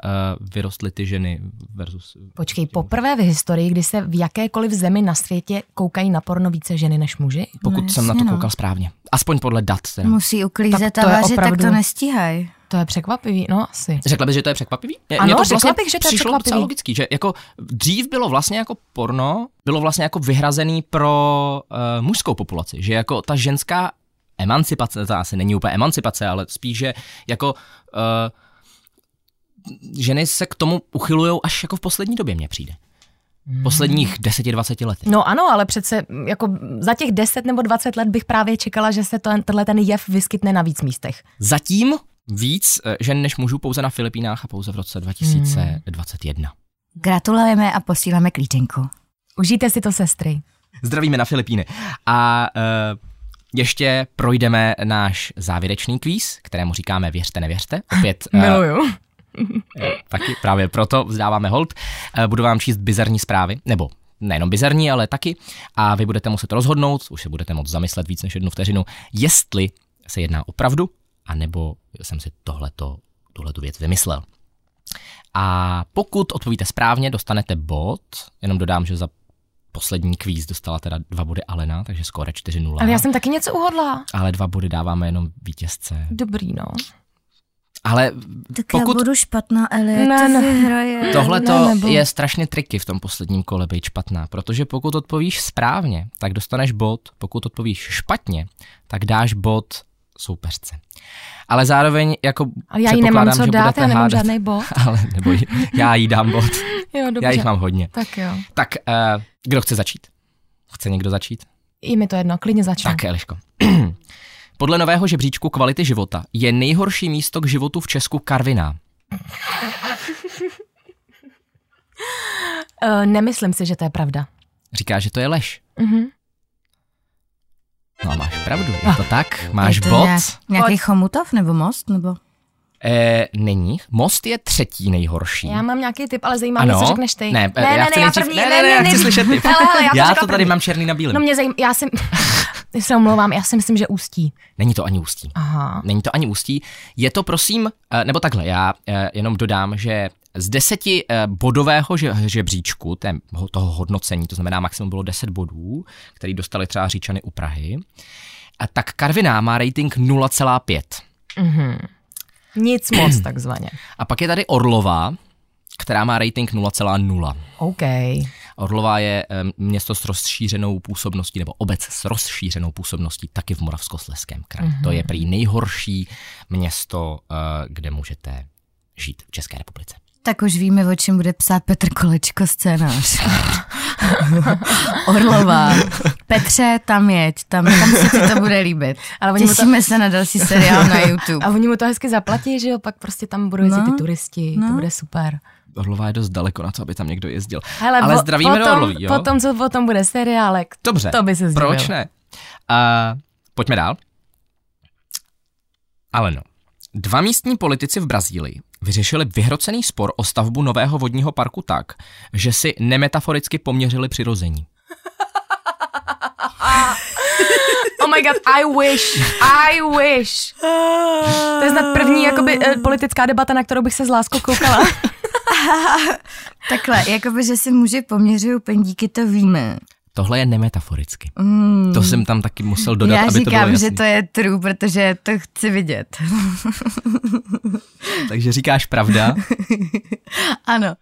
Speaker 2: vyrostly ty ženy versus...
Speaker 3: Počkej, poprvé v historii, kdy se v jakékoliv zemi na světě koukají na porno více ženy než muži?
Speaker 2: Pokud
Speaker 4: No,
Speaker 2: jsem na to
Speaker 4: jasně, no.
Speaker 2: koukal správně. Aspoň podle dat. Teda.
Speaker 4: Musí uklízet
Speaker 3: Tak
Speaker 4: a
Speaker 3: to je
Speaker 4: vařit, tak
Speaker 3: opravdu-
Speaker 4: to nestíhají.
Speaker 3: To je překvapivý, no asi.
Speaker 2: Řekla bys, že to je překvapivý? Mně-
Speaker 3: Ano,
Speaker 2: mně
Speaker 3: řekla bych, že to je
Speaker 2: přišlo
Speaker 3: překvapivý.
Speaker 2: docela logický, že jako dřív bylo vlastně jako porno, bylo vlastně jako vyhrazený pro uh, mužskou populaci, že jako ta ženská emancipace, to asi není úplně emancipace, ale spíš, že jako uh, ženy se k tomu uchylují až jako v poslední době mně přijde. Posledních 10-20 lety.
Speaker 3: Hmm. No ano, ale přece mm, jako za těch 10 nebo 20 let bych právě čekala, že se to, tenhle ten jev vyskytne na víc místech.
Speaker 2: Zatím víc eh, žen než mužů pouze na Filipínách a pouze v
Speaker 3: Hmm.
Speaker 2: roce 2021.
Speaker 4: Gratulujeme a posíláme klíčenku.
Speaker 3: Užijte si to, sestry.
Speaker 2: Zdravíme na Filipíny. A uh, ještě projdeme náš závěrečný kvíz, kterému říkáme Věřte, nevěřte. Opět eh, taky právě proto vzdáváme hold. Eh, budu vám číst bizarní zprávy, nebo nejenom bizarní, ale taky. A vy budete muset rozhodnout, už se budete moct zamyslet víc než jednu vteřinu, jestli se jedná o pravdu, anebo jsem si tohleto, tuhletu věc vymyslel. A pokud odpovíte správně, dostanete bod. Jenom dodám, že za poslední kvíz dostala teda dva body Alena, takže skóre 4-0.
Speaker 3: Ale já jsem taky něco uhodla.
Speaker 2: ale dva body dáváme jenom vítězce.
Speaker 3: Dobrý, no.
Speaker 2: Ale
Speaker 4: Tak
Speaker 2: Pokud-
Speaker 4: já budu špatná, Eli,
Speaker 3: Ne,
Speaker 4: to
Speaker 3: ne.
Speaker 4: vyhraje.
Speaker 2: Tohle
Speaker 3: Ne,
Speaker 2: to
Speaker 3: nebo-
Speaker 2: je strašně triky v tom posledním kole být špatná, protože pokud odpovíš správně, tak dostaneš bod, pokud odpovíš špatně, tak dáš bod soupeřce. Ale zároveň jako
Speaker 3: Ale já jí nemám
Speaker 2: předpokládám,
Speaker 3: co
Speaker 2: že
Speaker 3: dát,
Speaker 2: budete
Speaker 3: já nemám
Speaker 2: hádat.
Speaker 3: žádný bod.
Speaker 2: <laughs> Ale nebo jí- já jí dám bod.
Speaker 3: Jo, dobře.
Speaker 2: Já jich mám hodně.
Speaker 3: Tak jo.
Speaker 2: Tak eh, kdo chce začít? Chce někdo začít?
Speaker 3: I mi to jedno, klidně začnu.
Speaker 2: Tak, Eliško. <clears throat> Podle nového žebříčku kvality života je nejhorší místo k životu v Česku Karviná.
Speaker 3: Uh, Eh, nemyslím si, že to je pravda.
Speaker 2: Říká, že to je lež.
Speaker 3: Mhm.
Speaker 2: No a máš pravdu, je to tak? Máš
Speaker 4: Je to
Speaker 2: bod?
Speaker 4: Nějak, nějaký chomutov nebo most? Nebo...
Speaker 2: Eh, není. Most je třetí nejhorší.
Speaker 3: Já mám nějaký tip, ale zajímá mě, co řekneš ty.
Speaker 2: Hmm. Ne, eh,
Speaker 3: ne,
Speaker 2: já
Speaker 3: ne,
Speaker 2: chci
Speaker 3: ne, já
Speaker 2: nejdřív-
Speaker 3: první,
Speaker 2: ne, ne, ne, já chci slyšet ty.
Speaker 3: Hele, hele, já to,
Speaker 2: já
Speaker 3: řekla
Speaker 2: to tady
Speaker 3: první.
Speaker 2: mám černý na bílém.
Speaker 3: No mě zajímá, já jsem, <laughs> já se omlouvám, já si myslím, že ústí.
Speaker 2: Není to ani ústí.
Speaker 3: Aha.
Speaker 2: Není to ani ústí. Je to prosím, eh, nebo takhle, já eh, jenom dodám, že z deseti eh, bodového že- žebříčku, té- ho- toho hodnocení, to znamená maximum bylo 10 bodů, který dostali třeba říčany u Prahy, a tak Karviná má rating 0,5.
Speaker 3: Nic <clears throat> moc, takzvaně.
Speaker 2: A pak je tady Orlová, která má rating 0,0.
Speaker 3: OK.
Speaker 2: Orlová je em, město s rozšířenou působností, nebo obec s rozšířenou působností, taky v Moravskosleském kraji. Mm-hmm. To
Speaker 3: Mhm.
Speaker 2: je prý nejhorší město, eh, kde můžete žít v České republice.
Speaker 4: Tak už víme, o čem bude psát Petr Kolečko scénář. Orlová. Petře, tam jeď, tam, tam se ti to bude líbit.
Speaker 3: Ale
Speaker 4: Ale
Speaker 3: oni mu to-
Speaker 4: Těšíme se na další seriál na YouTube.
Speaker 3: A oni mu to hezky zaplatí, že jo, pak prostě tam budou jezdit
Speaker 4: No,
Speaker 3: ty turisti, to
Speaker 4: no.
Speaker 3: bude super.
Speaker 2: Orlová je dost daleko na to, aby tam někdo jezdil. Ale zdravíme
Speaker 3: potom,
Speaker 2: do Orlový, jo?
Speaker 3: Potom, co potom bude seriálek.
Speaker 2: Dobře,
Speaker 3: To by se zdivil.
Speaker 2: proč ne? A, pojďme dál. Ale no. Dva místní politici v Brazílii vyřešili vyhrocený spor o stavbu nového vodního parku tak, že si nemetaforicky poměřili přirození.
Speaker 3: Oh my god, I wish, I wish. To je snad první jakoby, eh, politická debata, na kterou bych se s láskou <laughs> koukala.
Speaker 4: Takhle, jakoby, že si muži poměřují pendíky, to víme.
Speaker 2: Tohle je nemetaforicky.
Speaker 4: Mm.
Speaker 2: To jsem tam taky musel dodat,
Speaker 4: Já
Speaker 2: aby to bylo
Speaker 4: říkám,
Speaker 2: jasný.
Speaker 4: že to je true, protože to chci vidět.
Speaker 2: Takže říkáš
Speaker 4: <laughs>
Speaker 2: pravda,
Speaker 4: <laughs> Ano.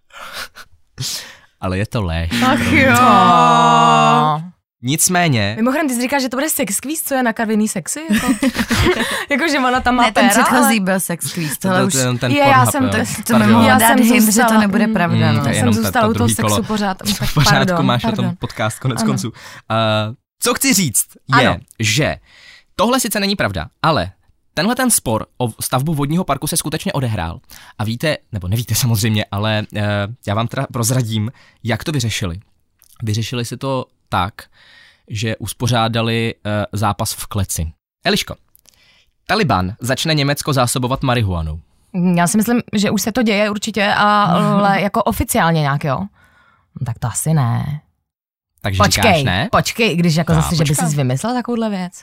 Speaker 2: ale je to lež.
Speaker 4: Ach jo.
Speaker 2: Nicméně,
Speaker 3: Mimochodem, ty jsi říkáš, že to bude sex quiz, co je na Karviný sexy? <laughs> Jako, jako že ona tam má
Speaker 4: Ne, ten
Speaker 3: péra,
Speaker 4: předchozí byl sex quiz,
Speaker 2: to byl
Speaker 4: tohle už...
Speaker 2: jenom ten
Speaker 3: Je,
Speaker 2: Pornhub,
Speaker 3: já jsem
Speaker 2: jo.
Speaker 3: to-
Speaker 4: To mi
Speaker 2: Pardon.
Speaker 4: mohla
Speaker 3: Já
Speaker 4: dát
Speaker 3: jsem
Speaker 4: hint, že to
Speaker 3: zůstala-
Speaker 4: nebude pravda,
Speaker 2: Mm,
Speaker 4: no.
Speaker 2: to je
Speaker 3: ale
Speaker 2: jenom
Speaker 3: jsem
Speaker 2: ta-
Speaker 3: zůstala
Speaker 2: to
Speaker 3: u toho
Speaker 2: druhý
Speaker 3: sexu
Speaker 2: kolo.
Speaker 3: pořád. Tak
Speaker 2: <laughs> V pořádku,
Speaker 3: pardon,
Speaker 2: máš
Speaker 3: pardon.
Speaker 2: na tom podcast konec
Speaker 3: Ano.
Speaker 2: konců. Uh, co chci říct je,
Speaker 3: Ano.
Speaker 2: že tohle sice není pravda, ale tenhle ten spor o stavbu vodního parku se skutečně odehrál. A víte, nebo nevíte samozřejmě, ale uh, já vám teda prozradím, jak to vyřešili. Vyřešili si to tak, že uspořádali uh, zápas v kleci. Eliško, Taliban začne Německo zásobovat marihuanou.
Speaker 3: Já si myslím, že už se to děje určitě, a-
Speaker 2: Mm-hmm.
Speaker 3: ale jako oficiálně nějak, jo? No, tak to asi ne.
Speaker 2: Takže říkáš
Speaker 3: Počkej,
Speaker 2: ne?
Speaker 3: počkej, i když jako
Speaker 2: Já
Speaker 3: zase, že by
Speaker 2: počkám.
Speaker 3: jsi vymyslel takovouhle věc.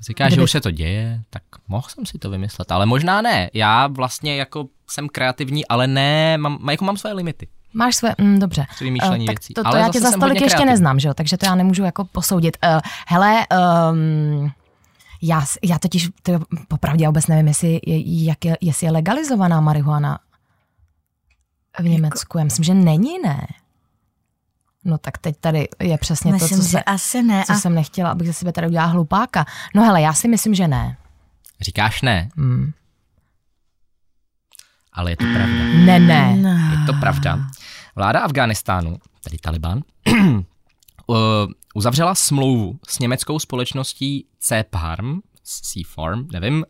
Speaker 2: Říká, že
Speaker 3: Kdyby-
Speaker 2: už se to děje, tak mohl jsem si to vymyslet, ale možná ne. Já vlastně jako jsem kreativní, ale ne, mám, má- jako mám své limity
Speaker 3: Máš své, mm, dobře.
Speaker 2: při vymýšlení
Speaker 3: Eh, tak
Speaker 2: věcí.
Speaker 3: to, to
Speaker 2: ale
Speaker 3: já
Speaker 2: zase
Speaker 3: tě
Speaker 2: jsem
Speaker 3: zase tolik
Speaker 2: hodně
Speaker 3: ještě
Speaker 2: kreativní.
Speaker 3: neznám, že jo, takže to já nemůžu jako posoudit. Uh, hele, um, já, s- já totiž, to, popravdě já vůbec nevím, jestli je, jak je, jestli je legalizovaná marihuana v
Speaker 4: Jako-
Speaker 3: Německu. Já myslím, že není, ne? No tak teď tady je přesně
Speaker 4: Myslím,
Speaker 3: to, co,
Speaker 4: že
Speaker 3: se,
Speaker 4: asi ne.
Speaker 3: co
Speaker 4: a
Speaker 3: jsem nechtěla, abych ze sebe tady udělala hlupáka. No hele, já si myslím, že ne.
Speaker 2: Říkáš ne,
Speaker 3: Hmm.
Speaker 2: ale je to pravda.
Speaker 3: Ne, ne.
Speaker 4: No.
Speaker 2: Je to pravda. Vláda Afghánistánu, tedy Taliban, <clears throat> uh, uzavřela smlouvu s německou společností C-Farm, C-Farm, nevím, uh,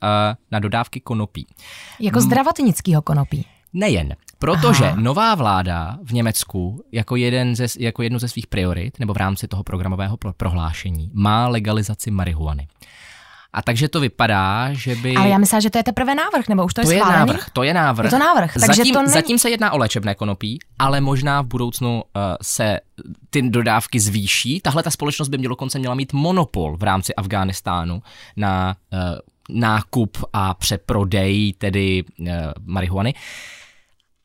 Speaker 2: na dodávky konopí.
Speaker 3: Jako
Speaker 2: Mm.
Speaker 3: zdravotnickýho konopí.
Speaker 2: Nejen, protože Aha. nová vláda v Německu jako, jeden ze, jako jednu ze svých priorit, nebo v rámci toho programového pro- prohlášení, má legalizaci marihuany. A takže to vypadá, že by...
Speaker 3: Ale já myslela, že to je teprve návrh, nebo už to,
Speaker 2: to
Speaker 3: je
Speaker 2: je
Speaker 3: schválený?
Speaker 2: návrh, to je návrh.
Speaker 3: Je to návrh, takže
Speaker 2: zatím,
Speaker 3: to není-
Speaker 2: zatím se jedná o léčebné konopí, ale možná v budoucnu uh, se ty dodávky zvýší. Tahle ta společnost by mě dokonce měla mít monopol v rámci Afghánistánu na uh, nákup a přeprodej tedy uh, marihuany.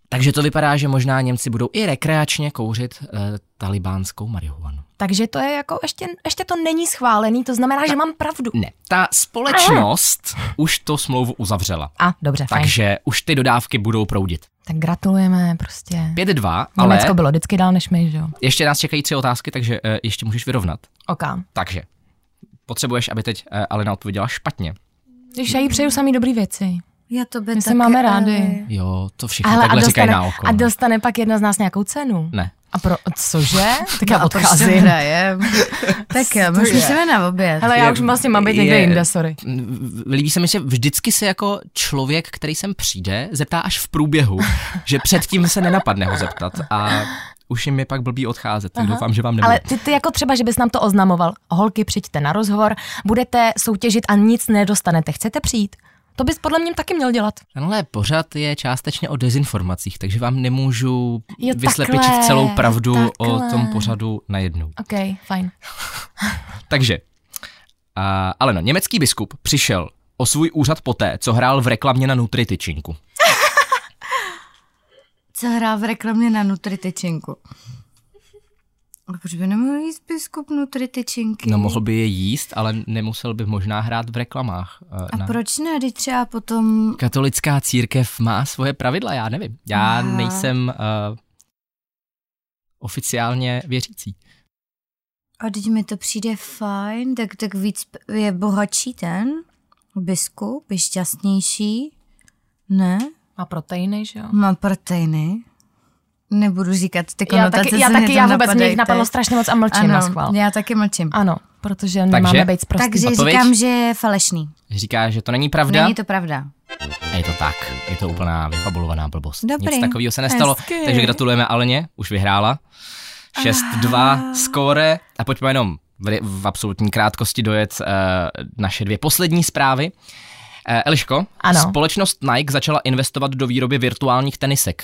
Speaker 2: Takže to vypadá, že možná Němci budou i rekreačně kouřit uh, talibánskou marihuanu.
Speaker 3: Takže to je jako, ještě, ještě to není schválený, to znamená, že mám pravdu.
Speaker 2: Ne, ta společnost už to smlouvu uzavřela.
Speaker 3: A, dobře, fajn. Takže...
Speaker 2: Takže už ty dodávky budou proudit.
Speaker 3: Tak gratulujeme prostě.
Speaker 2: 5-2, ale...
Speaker 3: Německo bylo vždycky dál než my, že jo?
Speaker 2: Ještě nás čekají tři otázky, takže eh, ještě můžeš vyrovnat.
Speaker 3: Ok.
Speaker 2: Takže potřebuješ, aby teď eh, Alena odpověděla špatně.
Speaker 3: Když já jí přeju samý dobrý věci.
Speaker 4: Já to by
Speaker 3: My se
Speaker 4: taky,
Speaker 3: máme
Speaker 4: ale-
Speaker 3: rádi.
Speaker 2: Jo, to všichni
Speaker 3: Ale a
Speaker 2: takhle říkají
Speaker 3: dostane,
Speaker 2: na oko.
Speaker 3: a dostane pak jedna z nás nějakou cenu.
Speaker 2: Ne. prostě
Speaker 3: A pro,
Speaker 2: <laughs>
Speaker 3: cože? Tak já
Speaker 4: No a proč to
Speaker 3: odcházím.
Speaker 4: hrajem? <laughs> tak jo, my
Speaker 3: To je.
Speaker 4: už jsme na oběd.
Speaker 3: Hele, já
Speaker 2: Je-
Speaker 3: už vlastně mám být někde
Speaker 2: je-
Speaker 3: jinde, sorry.
Speaker 2: Mm, Líbí se mi, že vždycky se jako člověk,
Speaker 3: <laughs>
Speaker 2: který sem přijde, zeptá až v průběhu, že předtím se nenapadne ho zeptat a už jim je pak blbý odcházet, tak doufám, že vám nebude.
Speaker 3: Ale ty, ty jako třeba, že bys nám to oznamoval. Holky, přijďte na rozhovor, budete soutěžit a nic nedostanete. Chcete přijít? To bys podle mě taky měl dělat.
Speaker 2: Tenhle pořad je částečně o dezinformacích, takže vám nemůžu
Speaker 3: Jo,
Speaker 2: vyslepičit
Speaker 3: takhle,
Speaker 2: celou pravdu o
Speaker 3: takhle.
Speaker 2: tom pořadu najednou.
Speaker 3: OK, fajn.
Speaker 2: Takže, a, ale no, německý biskup přišel o svůj úřad poté, co hrál v reklamě na nutritičinku.
Speaker 4: Co hrál v reklamě na Nutritečinku? A Proč by nemohl jíst biskup Nutritečinky?
Speaker 2: No mohl by je jíst, ale nemusel by možná hrát v reklamách. eh,
Speaker 4: A
Speaker 2: na...
Speaker 4: proč ne? Teď třeba potom...
Speaker 2: Katolická církev má svoje pravidla, já nevím. Já
Speaker 4: Aha.
Speaker 2: nejsem uh, oficiálně věřící.
Speaker 4: A teď mi to přijde fajn, tak, tak víc je bohatší ten biskup, je šťastnější. Ne?
Speaker 3: Má proteiny, že jo?
Speaker 4: Má proteiny. Nebudu říkat ty
Speaker 3: Já
Speaker 4: konotace,
Speaker 3: taky, já,
Speaker 4: co
Speaker 3: taky,
Speaker 4: mě
Speaker 3: já
Speaker 4: tam
Speaker 3: vůbec mě
Speaker 4: napadají
Speaker 3: jich napadlo
Speaker 4: teď.
Speaker 3: strašně moc a mlčím na schvál.
Speaker 4: Ano, já taky mlčím.
Speaker 3: Ano, protože nemáme být prostě.
Speaker 4: Takže
Speaker 2: Odpověď?
Speaker 4: říkám, že je falešný.
Speaker 2: Říká, že to není pravda.
Speaker 4: Není to pravda.
Speaker 2: A je to tak. Je to úplná vyfabulovaná blbost.
Speaker 4: Dobrý.
Speaker 2: Nic takového se nestalo.
Speaker 4: Hezky.
Speaker 2: Takže gratulujeme Aleně, už vyhrála.
Speaker 3: Ah.
Speaker 2: 6-2 skóre. A pojďme jenom v, v absolutní krátkosti dojet uh, naše dvě poslední zprávy. Eh, Eliško,
Speaker 3: Ano.
Speaker 2: společnost Nike začala investovat do výroby virtuálních tenisek.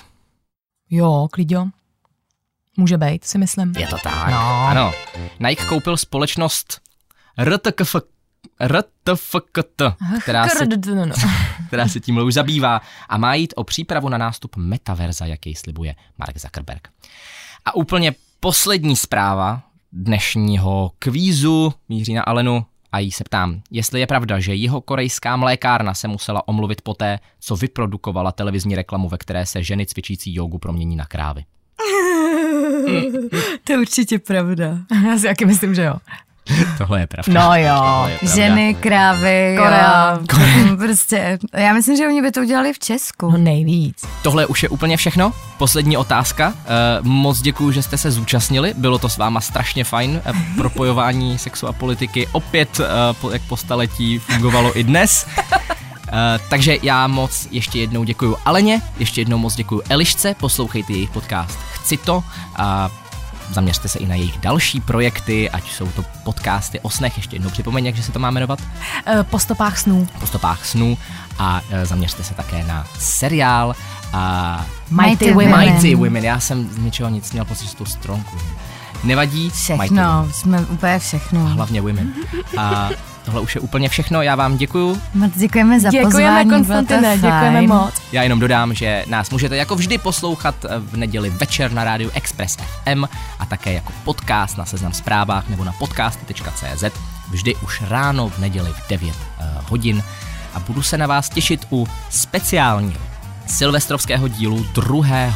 Speaker 3: Jo, klidio. Může být, si myslím.
Speaker 2: Je to tak.
Speaker 3: No.
Speaker 2: Ano. Nike koupil společnost RTKF, RTFKT, která se,
Speaker 3: Krdrdrdrdrdrd.
Speaker 2: která se tímhle už zabývá a má jít o přípravu na nástup metaverza, jaký slibuje Mark Zuckerberg. A úplně poslední zpráva dnešního kvízu míří na Alenu a jí se ptám, jestli je pravda, že jeho korejská mlékárna se musela omluvit poté, co vyprodukovala televizní reklamu, ve které se ženy cvičící jogu promění na krávy.
Speaker 4: To je určitě pravda.
Speaker 3: <laughs> Já si taky myslím, že jo.
Speaker 2: Tohle je pravda.
Speaker 3: No jo.
Speaker 2: Tohle je pravda.
Speaker 4: Ženy, krávy,
Speaker 3: Korea.
Speaker 4: jo. <laughs> Prostě, já myslím, že oni by to udělali v Česku.
Speaker 3: No nejvíc.
Speaker 2: Tohle už je úplně všechno. Poslední otázka. Eh, Moc děkuji, že jste se zúčastnili. Bylo to s váma strašně fajn. Eh, Propojování <laughs> sexu a politiky opět, eh, po- jak po staletí, fungovalo i dnes. Eh, takže já moc ještě jednou děkuji Aleně, ještě jednou moc děkuji Elišce, poslouchejte jejich podcast Chci to a zaměřte se i na jejich další projekty, ať jsou to podcasty o snech, ještě jednou připomeň, jak že se to má jmenovat
Speaker 3: Eh, Po stopách snů.
Speaker 2: po stopách snů a e, zaměřte se také na seriál a
Speaker 3: Mighty
Speaker 4: Mighty
Speaker 3: Women.
Speaker 4: Women.
Speaker 2: Mighty Women. Já jsem z ničeho nic měl pocit, že tu stronku. Nevadí, Mighty Women.
Speaker 4: Všechno, jsme úplně všechno.
Speaker 2: Hlavně Women. A tohle už je úplně všechno, já vám děkuju.
Speaker 4: Moc děkujeme za
Speaker 3: Děkujeme,
Speaker 4: pozvání,
Speaker 3: Konstantine,
Speaker 4: bylo to fajn.
Speaker 3: děkujeme moc.
Speaker 2: Já jenom dodám, že nás můžete jako vždy poslouchat e, v neděli večer na rádiu Express FM a také jako podcast na Seznam zprávách nebo na podcasty.cz vždy už ráno v neděli v 9 eh, hodin a budu se na vás těšit u speciálního silvestrovského dílu 2. eh,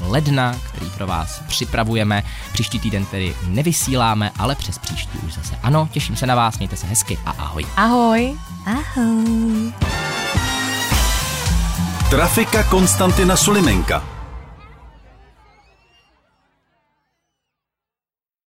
Speaker 2: ledna, který pro vás připravujeme. Příští týden tedy nevysíláme, ale přes příští už zase ano. Těším se na vás, mějte se hezky a ahoj.
Speaker 3: Ahoj.
Speaker 4: Ahoj.
Speaker 1: Trafika Konstantina Sulimenka.